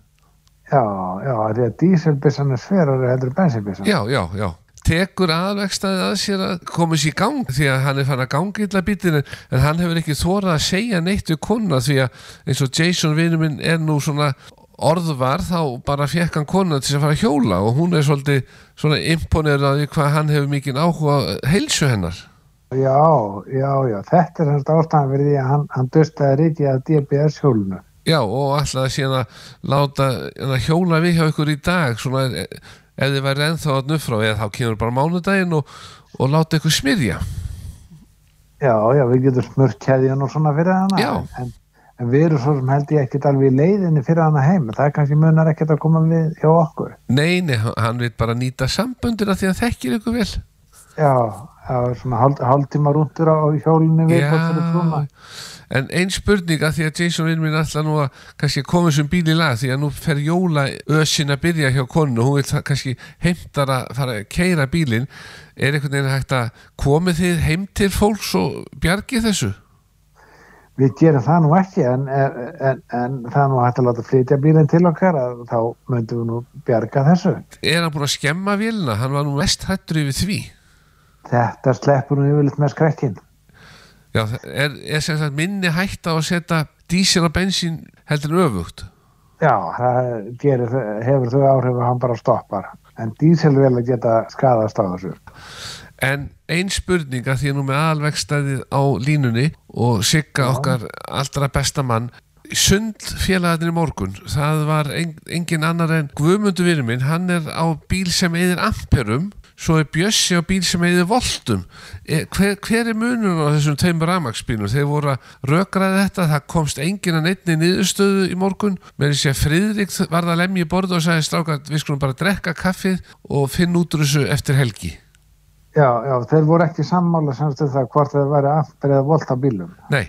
S8: Já, já, því að díselbissan er sverari heldur en bensinbissan.
S2: Já, já, já tekur aðvegstaði að sér að koma sér í gang því að hann er fann að gangi illa bítinu en hann hefur ekki þórað að segja neitt við kona því að eins og Jason vinur minn er nú svona orðvar þá bara fekk hann kona til að fara að hjóla og hún er svolítið svona imponerað að því hvað hann hefur mikinn áhuga á heilsu hennar
S8: Já, já, já, þetta er hans ástæðan fyrir því að hann, hann dustaði rikið að DBS hjólinu.
S2: Já og alltaf síðan að láta hérna, hjóla við hjá ykkur í dag svona eh, ef þið væri ennþá að nufra eða þá kemur bara mánudaginn og, og láta ykkur smyrja
S8: Já, já, við getum smurt keðjan og svona fyrir hana.
S2: Já.
S8: En, en við erum svo sem held ég ekkit alveg í leiðinni fyrir hana heim. Það er kannski munar ekkit að koma við hjá okkur.
S2: Nei, nei, hann- hann vil bara nýta samböndina því að hann þekkir ykkur vel
S8: Já, já svona hálf, hálftíma rúntur á hjólinu við hvort fyrir brúna.
S2: en ein spurning að því að Jason vinn minn alltaf nú að kannski koma þessum bíl í lag því að nú fer jóla ösin að byrja hjá konu og hún vil það kannski heimtar að fara að keira bílinn er einhvern veginn hægt að komið þið heim til fólks og bjargið þessu?
S8: Við gerum það nú ekki en, en, en, en það er nú hægt að láta flytja bílinn til okkar að þá myndum við nú bjarga þessu.
S2: Er hann búin að skemma vélina? Hann var nú mest hættur yfir því
S8: Þetta sleppur nú yfirleitt með skrekkinn.
S2: Já, það er, er sem sagt minni hætt á að setja dísil og bensín heldur en öfugt
S8: Já, það gerir, þau- hefur þau áhrif að hann bara stoppar. En dísilvela geta skadast á þessu.
S2: En ein spurning að því að nú með alvegstæðið á línunni og sigga okkar allra besta mann Sund félagarnir í morgun, það var en, engin annar en Guðmundur vinur minn, hann er á bíl sem eðir amperum, svo er Bjössi á bíl sem eðir voltum. E, hver, hver er munun á þessum tveimur ramagsbílum? Þeir voru að rökraði þetta, það komst engin að neittni niðurstöðu í morgun, með þessi að Friðrik varð að lemja í borð og sagði strákar, við skulum bara drekka kaffið og finn út úr þessu eftir helgi.
S8: Já, já, þeir voru ekki sammála semst um það hvort þeir væri aftur eða volta bílum.
S2: Nei,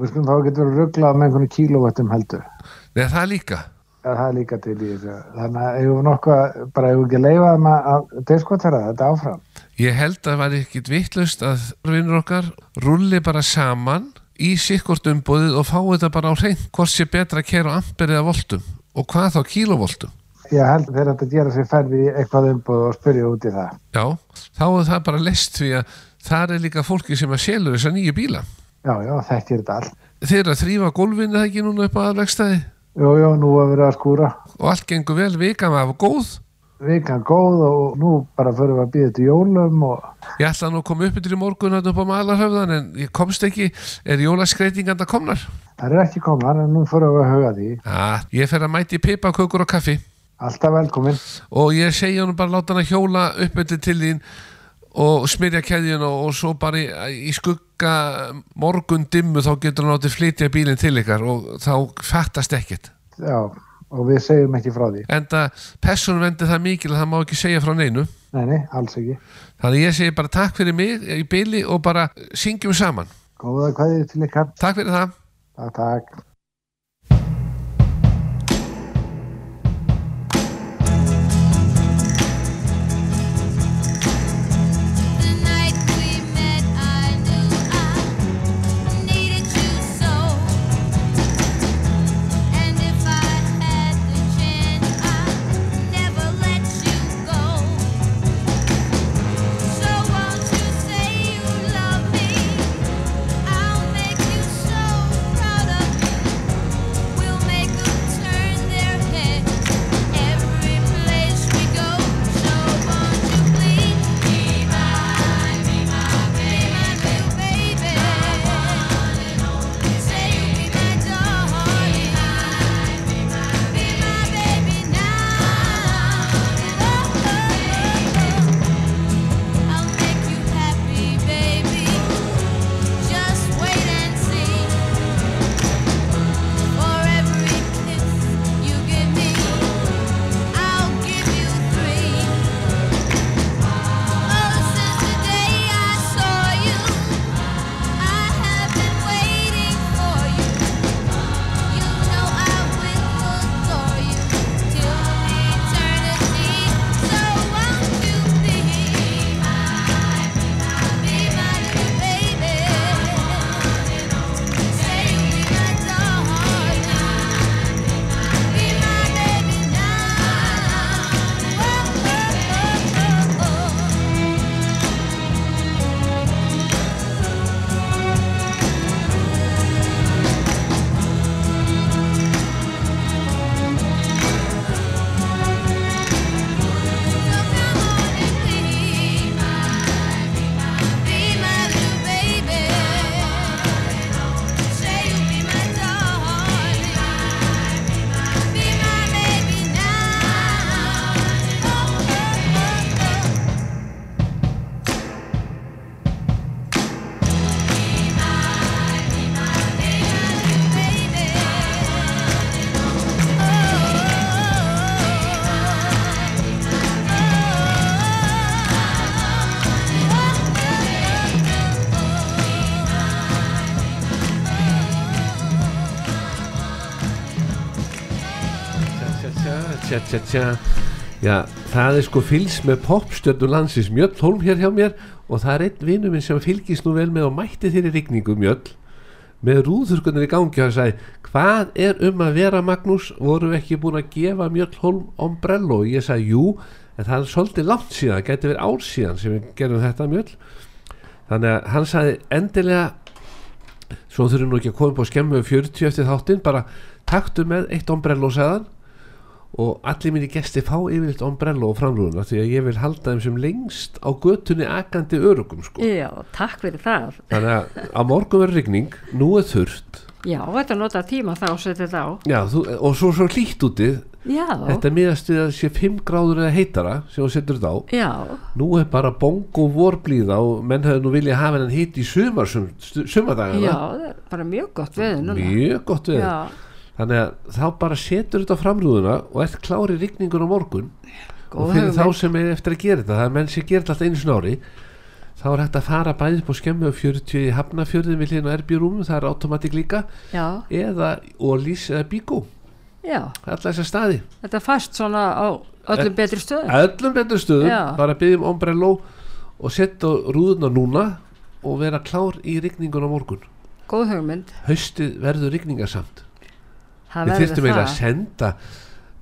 S8: Við skulum þá getur verið rugglað með einhvern kílóvattum heldur.
S2: Nei, það líka.
S8: Já, það er líka til í þessu. Þannig að eigum við nokkuð, bara eigum við ekki að leifa þeim að- að diskotera þetta áfram.
S2: Ég held að það var ekkit vittlust að vinnur okkar rulli bara saman í sikkort umbúðið og fá þetta bara á hreint hvort sé betra að kera á amperið eða voltum og hvað þá kílovoltum.
S8: Ég held þeir ættu að gera sér ferði í eitthvað umbúð og spyrja út í það.
S2: Já, þá er það bara list því að þar er líka fólki sem að selur þessa nýju bíla.
S8: Já, já, þekkir þetta allt.
S2: Þeir eru að þrýfa gólfinu það ekki núna upp á aðvegstæði
S8: Jú, jú, nú að vera að skúra.
S2: og allt gengur vel, vikan var góð.
S8: Vikan góð og nú bara förum við að býða til jólum og
S2: Ég ætlaði nú að koma upp yfir í morgun að upp á malarhöfðan en ég komst ekki, er jólaskreitinganda komnar?
S8: Það er ekki komnar en nú fyrir við að huga því.
S2: Ah, ég fer að mæti pipa, kökur og kaffi.
S8: Alltaf velkomin.
S2: og ég segi honum bara láta hann að hjóla upp eftir til þín og smyrja keðjun og, og svo bara í, í skugga morgun dimmu þá getur hann átti flytja bílinn til ykkar og þá fattast ekkert
S8: já, og við segjum ekki frá því
S2: enda personum vendi það mikil að það má ekki segja frá neinu
S8: nei, nei, alls ekki
S2: þannig að ég segi bara takk fyrir mig í bíli og bara syngjum saman
S8: góða kvæðið til ykkar,
S2: takk fyrir það
S8: takk, takk.
S6: The night we met, I knew I needed you so. And if I had the chance, I'd never let you go. So won't you say you love me? I'll make you so proud of you. We'll make 'em turn their heads every place we go. So won't you please? I'll give you three. Oh, since the day I saw you, I have been waiting for you. You know I will adore you till eternity. So won't you be my, be my baby? Say you'll be my darling, be my baby now.
S2: Tja, tja, tja. Já, það er sko fylgst með popstjörnum landsins Mjöll Holm hér hjá mér og það er einn vinnu minn sem fylgist nú vel með og mætti þeirri rigningu Mjöll með rúðurkunir í gangi og hann sagði hvað er um að vera Magnús vorum við ekki búin að gefa Mjöll Holm ombrello og ég sagði jú en það er svolítið langt síðan, það gæti verið ár síðan sem við gerum þetta Mjöll þannig að hann sagði endilega svo þurfum nú ekki að koma upp á skemmu 40 eftir þáttinn, bara taktu með eitt ombrello sagðan og allir mínir gesti fá yfirleitt ombrello og framrúðuna því að ég vil halda þeim sem lengst á götunni akandi örugum sko.
S3: Já, takk fyrir það.
S2: þannig að á morgun verður rigning nú er þurft
S3: Já, þetta nota tíma þá og setja þetta á.
S2: Já, þú, og svo svo hlýtt úti
S3: Já,
S2: þetta er miðast við að sé 5 gráður eða heitara sem þú setur þetta á
S3: já,
S2: nú er bara bong og vorblíða og menn hefur nú viljað hafa hennan hitt í sumar sum, stu-
S3: já,
S2: sumardagana
S3: það er bara mjög gott veður núna.
S2: mjög gott við
S3: Já,
S2: þannig að þá bara setur þetta á framrúðuna og ert klári rigningun á morgun og
S3: góð
S2: fyrir þá
S3: hugmynd.
S2: sem er eftir að gera þetta það er menn sem gerir þetta alltaf einu sinni á ári þá er hægt að fara bæðið upp á skemmu og 40 í hafnafjörðin við hliðin og erbjörúm það er automatik líka
S3: Já,
S2: eða Ólís eða Bíkó
S3: já,
S2: alltaf þessar staði
S3: þetta er fast svona á öllum betri stöðum.
S2: öllum betur stöðum
S3: Já.
S2: bara byggjum ombrello um og setja rúðuna núna og vera klár í rigningun á morgun
S3: Góð hugmynd.
S2: haustið verður rigningasamt
S3: Það
S2: við
S3: verður
S2: þyrstum eiginlega að
S3: það.
S2: senda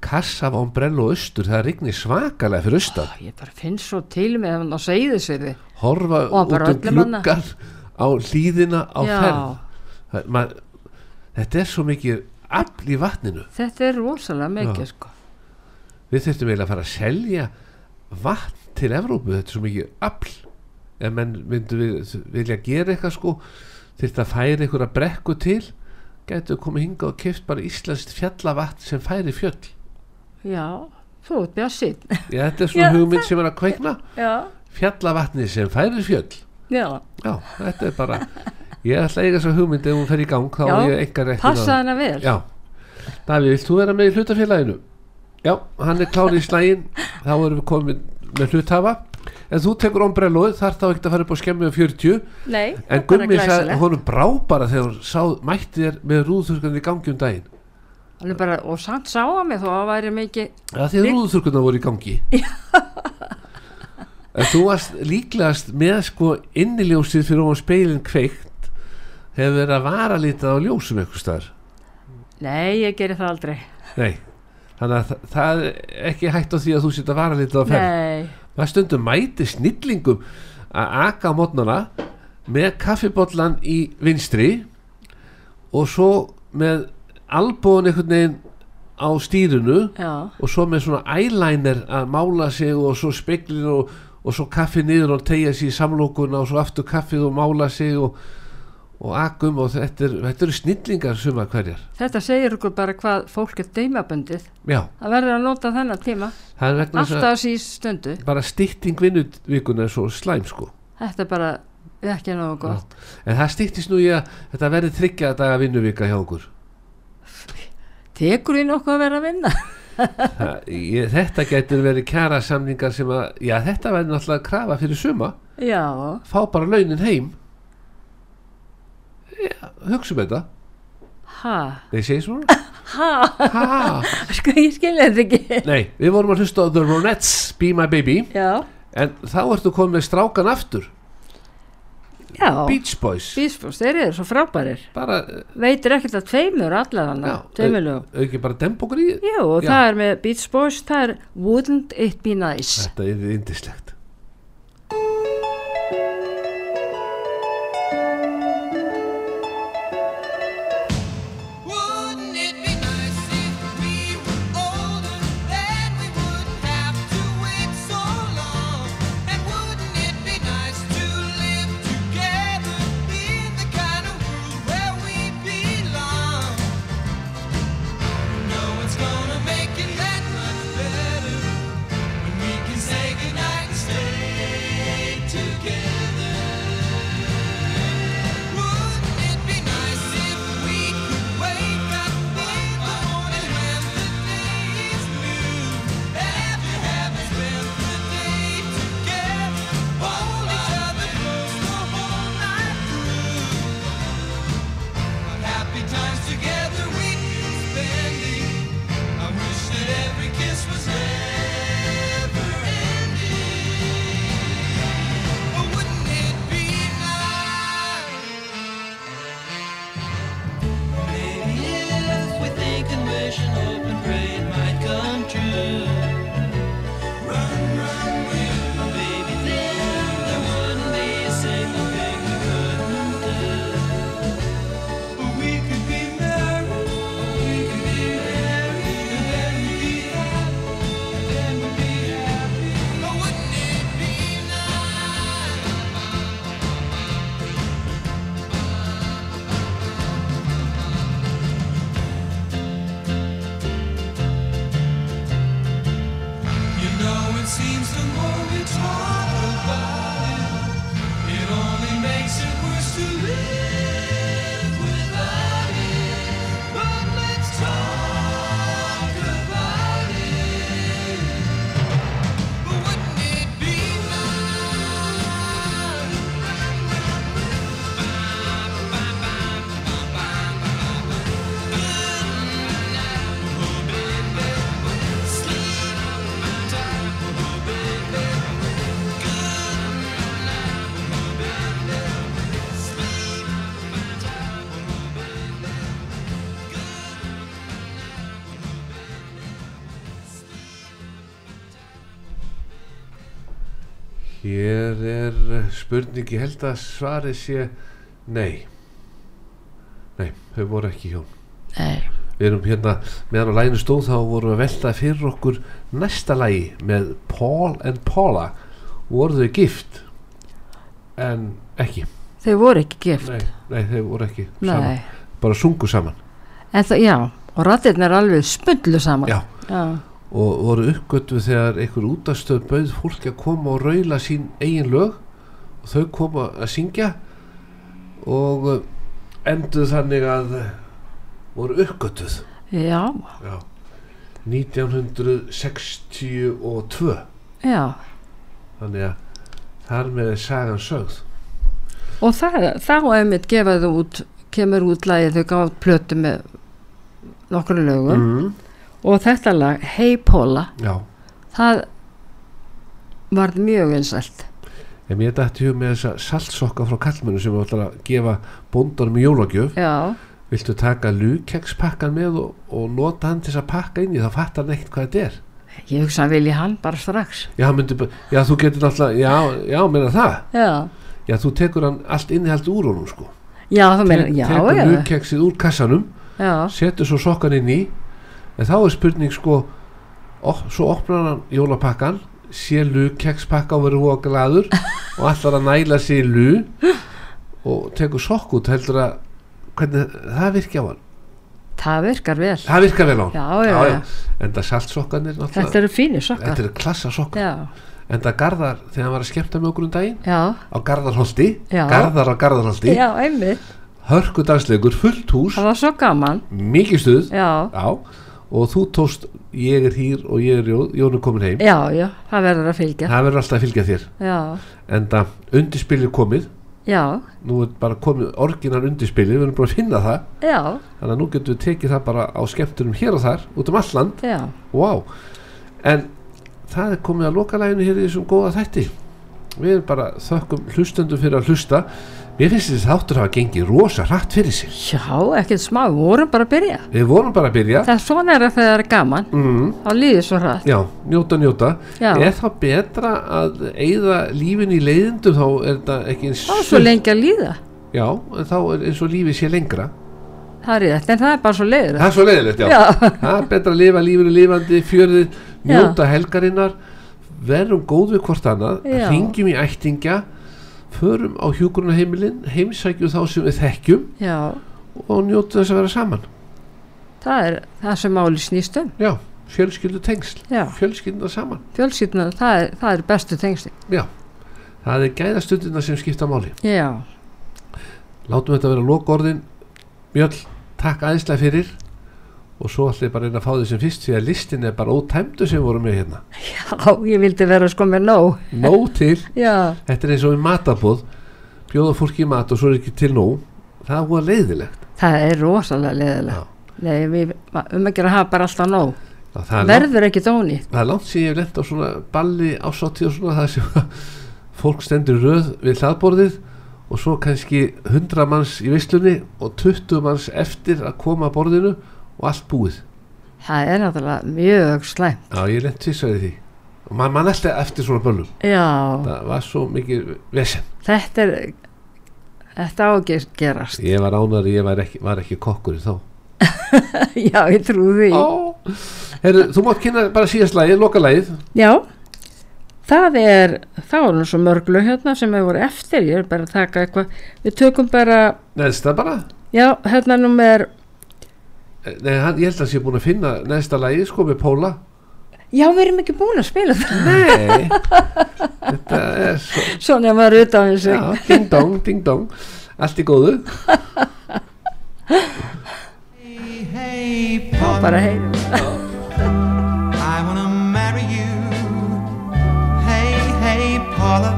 S2: kassa af ombrello austur það rignir svakalega fyrir austan
S3: Ég bara finn svo til með hann á seyðisviði.
S2: horfa
S3: Ah. Og
S2: út
S3: bara
S2: um
S3: öllum hana.
S2: gluggan á hlýðina á
S3: Já.
S2: ferð Það- maður, þetta er svo mikið afl í vatninu
S3: Þetta er rosalega mikið, sko.
S2: við þurftum eiginlega að fara að selja vatn til Evrópu, þetta er svo mikið afl ef menn myndu við, vilja gera eitthvað sko þurft að færa einhverja brekku til gætu komið hingað og keft bara íslenskt fjallavatn sem færi fjöll
S3: Já, þú ert bjart sín.
S2: Já, þetta er
S3: Já,
S2: svona hugmynd sem er að kveikna
S3: Já,
S2: fjallavatni sem færir fjöll
S3: já,
S2: já, þetta er bara ég ætla að eiga svo hugmynd ef hún fer í gang þá
S3: Já,
S2: er ég engar rektin
S3: passa hana vel
S2: já, Davíð, vilt þú vera með í hlutafélaginu? já, hann er klár í slægin þá erum við komin með hluthafa en þú tekur ombrelloð, þar þá ekkert að fara upp á skemmi á 40
S3: nei,
S2: En
S3: bara
S2: Gummi sagði,
S3: glæsilegt.
S2: honum brá bara þegar hún sá, mætti þér með rúðuþurkandi í gangi um daginn.
S3: Alveg bara, og samt sá að mig þó að það væri mikið
S2: Það því að
S3: Við-
S2: rúðuþurkandi voru í gangi. en þú varst líklegast með sko inniljósið fyrir ofan speilin kveikt hefur verið að vara litað á ljósum einhvers staðar.
S3: nei, ég geri það aldrei
S2: Nei, þannig að þa- það er ekki hægt á því að þú setja vara litað á ferð.
S3: nei,
S2: Maður stundum mæti snillingum að aka á mótnana með kaffibollan í vinstri og svo með albúin einhvern veginn á stýrinu
S3: já,
S2: og svo með svona eyeliner að mála sig og svo speklin og, og svo kaffi niður og tegja sig í samlokuna og svo aftur kaffið og mála sig og, og akum og þetta, er, þetta eru snillingar suma hverjar.
S3: þetta segir okkur bara hvað fólk er deimabundið
S2: Já,
S3: það verður að nota þennan tíma
S2: það er vegna þess að
S3: alltaf síðust stundu
S2: bara stytting vinnutvikuna er svo slæm sko.
S3: þetta er bara ekki nógu gott
S2: En það stýttist nú í að þetta verði þryggja daga vinnuvika hjá okkur.
S3: tekur því nokkuð að vera að vinna
S2: Það, ég, þetta getur verið kjara samningar sem að, já þetta verður náttúrulega krafa fyrir suma,
S3: já,
S2: fá bara launin heim. Já, hugsa um þetta.
S3: ha,
S2: Nei, segi svona.
S3: ha
S2: Ha,
S3: sko ég skilja þetta ekki
S2: nei, við vorum að hlusta á The Ronettes, Be My Baby,
S3: já,
S2: en þá ertu komið með strákan aftur,
S3: já
S2: Beach Boys.
S3: bísbúst, þeir eru svo frábærir
S2: Bara,
S3: veitir ekkert að tveimur allavega
S2: Já,
S3: tveimilugum
S2: au- ekki bara dembokri í
S3: Jú, og
S2: Já.
S3: það er með Beach Boys, það er Wouldn't It Be Nice
S2: Þetta er indislegt.
S6: Wouldn't it be nice if we were older? Then we wouldn't have to wait so long. And wouldn't it be nice to live together in the kind of world where we belong? No one's gonna make it that much better when we can say goodnight and stay together. Wouldn't it be nice if we could wake up in the morning when the day is new? And after having spent the day together, hold each other close the whole night through. What happy times together we spending? I wish that every kiss was never ending. But wouldn't it be nice? Maybe if we think and wish and hope and pray it might come true. Run, run, will. Maybe then there wouldn't be a single thing we couldn't do. But we could be married. We could be married. And then we'd be happy. And then we'd be happy. Oh, wouldn't it be nice? You know it seems the more we talk about it, it only makes it worse to live without it. But let's talk about it. But wouldn't it be nice?
S2: Hér er eh, spurning, ég held að svarið sé nei. Nei, þau voru ekki hjón.
S3: Nei.
S2: Við erum hérna, meðan á læginu stóð þá vorum við að velta fyrir okkur næsta lægi með Paul and Paula. Voru þau gift? En ekki.
S3: Þau voru ekki gift
S2: Nei, nei þau voru ekki
S3: Nei.
S2: saman. Bara sungu saman.
S3: En það, já, og rattirna er alveg spundlu saman
S2: Já.
S3: já,
S2: og voru uppgöttu þegar einhver útastöð bauð fólki að koma og raula sín eigin lög og þau koma að syngja og uh, enduð þannig að uh, voru uppgöttuð
S3: já,
S2: já. 1962
S3: já
S2: þannig að þar með er sagan sögð
S3: og það, þá einmitt gefaðu út kemur út lagið þau gáðu plötu með nokkru lögum
S2: mm.
S3: og þetta lag, Hey Paula
S2: já
S3: það varð mjög vinsælt
S2: Ég mér dætti hug með þessa saltsokka frá kallmennu sem við ætlar að gefa bóndanum í jólagjöf.
S3: já,
S2: Viltu taka lúkekspakkan með og, og nota hann til þess að pakka inn í það fattar hann ekkert hvað þetta er.
S3: ég hugsa að vilja hann bara strax
S2: Já, hann myndi, bara- já þú getur náttúrulega, já, já, meina það.
S3: já,
S2: Já, þú tekur hann allt innihald úr honum sko.
S3: já þú meina, já,
S2: tekur
S3: já,
S2: lúkeksið úr kassanum,
S3: já
S2: setur svo sokkan inn í. En þá er spurning sko, ó, svo opnar hann jólapakkan, sé lúkekspakka og verður hóka gladur og allar að næla sér í lú og tekur sokk út heldur að hvernig, það virkja á hann
S3: það virkar vel,
S2: það virkar vel á hann
S3: Já, já, já.
S2: en það saltsokkanir náttúrulega-
S3: þetta eru fínir sokkar
S2: þetta eru klassa sokkar
S3: já,
S2: en það garðar, þegar hann var að skemmta með okkur um daginn
S3: já,
S2: á garðarholti,
S3: Já.
S2: garðar á garðarholti
S3: já, einmitt
S2: hörku dagslegur, fullt hús
S3: það var svo gaman,
S2: mikið stuð
S3: já
S2: Já, og þú tóst ég er hýr og ég er jón, jón er komin heim
S3: já, já, það verður að fylgja
S2: það verður alltaf að fylgja þér
S3: já,
S2: en það undirspilið komið
S3: já,
S2: nú er bara komið orginan undirspilið við erum bara að finna það
S3: já,
S2: þannig að nú getum við tekið það bara á skemmtunum hér og þar út um alland,
S3: já
S2: wow en það er komið að lokalæginu hér í þessum góða þætti við erum bara þökkum hlustendum fyrir að hlusta mér finnst þessi þáttur hafa gengið rosa hratt fyrir sig
S3: Já, ekkert smá, við vorum bara að byrja.
S2: við vorum bara að byrja
S3: Það er svona er að þegar það er gaman, mm. þá líður svo hratt.
S2: Já, njóta, njóta.
S3: Já.
S2: Er það betra að eigða lífin í leiðindum þá er þetta ekki eins...
S3: Það er svo lengi að líða,
S2: Já, en þá er eins og lífið sé lengra.
S3: það er rétt, en það er bara svo leiður.
S2: Það er svo leiðilegt, já.
S3: Já.
S2: Það er betra að lifa lífinu lifandi, fjörðið, njóta helgarinnar, verðum góð við hvort annað,
S3: Já.
S2: ringjum í ættingja, förum á hjúgrunarheimilin, heimsækjum þá sem við þekkjum
S3: Já,
S2: og njóta þess að vera saman.
S3: það er það sem máli snýst um.
S2: Já, fjölskyldu tengsl,
S3: Já.
S2: fjölskylduna saman.
S3: Fjölskylduna, það er, það er bestu tengsli.
S2: Já, það er gæðastundina sem skipta máli.
S3: Já,
S2: látum þetta vera lokorðin Mjöll, takk æðislega fyrir og svo ætlum ég bara að reyna að fá því sem fyrst því að listin er bara ótæmdu sem við vorum með hérna
S3: já, ég vildi vera sko með nóg.
S2: nóg til,
S3: Já,
S2: þetta er eins og við matabóð bjóða fólki í mat og svo er ekki til nóg það er hvað leiðilegt
S3: það er rosalega leiðilega.
S2: Já.
S3: Nei, við, um ekki að hafa bara alltaf nóg.
S2: Já, það, er langt,
S3: Verður ekki dóni.
S2: það er langt sem ég hef lent á svona balli ásátti og svona það sem að fólk stendur í röð við hlaðborðið og svo kannski 100 manns í vislunni og 20 manns eftir að koma að borðinu og allt búið
S3: Það er náttúrulega mjög slæmt.
S2: Já, ég lent tvissaði því og maður mann alltaf eftir svona böllum
S3: Já,
S2: það var svo mikið vesen
S3: þetta er, þetta á ekki að gerast.
S2: ég var ánar, ég var ekki, var ekki kokkur þá
S3: Já, ég trúi því.
S2: Ó, herru, þú mátt kynna bara síðast lagið, loka lagið
S3: Já, það er, þá er nú svo mörglu hérna sem hefur voru eftir, ég er bara að taka eitthvað, við tökum bara,
S2: neðsta bara, Eh,
S3: já, hérna númer,
S2: Nei, hann, ég held að sé búin að finna neðsta lagið, sko, með Póla
S3: já, við erum ekki búin að spila það,
S2: nei, þetta er svo
S3: svona maður er utan þessu.
S2: já, ding dong, ding dong allt í góðu
S6: Hey,
S3: Já,
S6: Paula,
S3: bara heyrum.
S6: I wanna marry you. Hey, hey, Paula,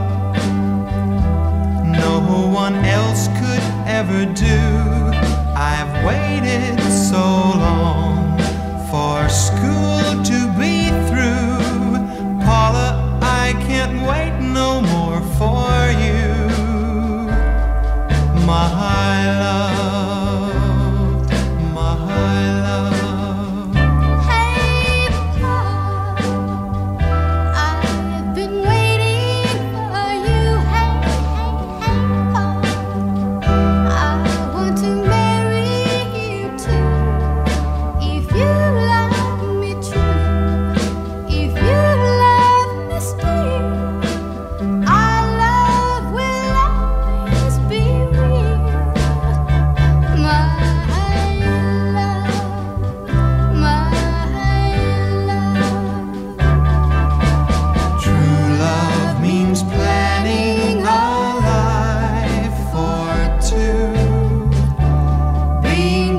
S6: no one else could ever do. I've waited so long for school to be through. Paula, I can't wait no more for you my love, my love.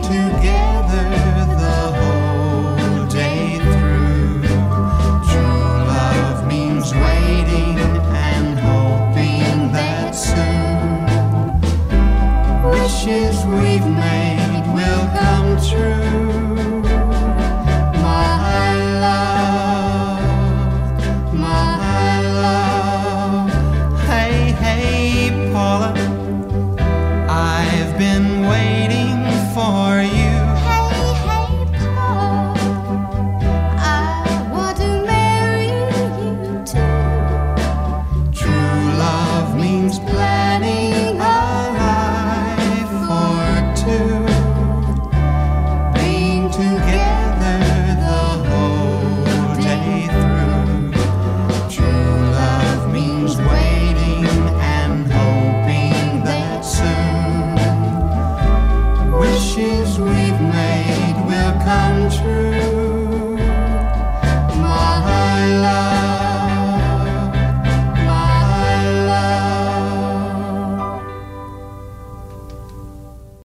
S9: to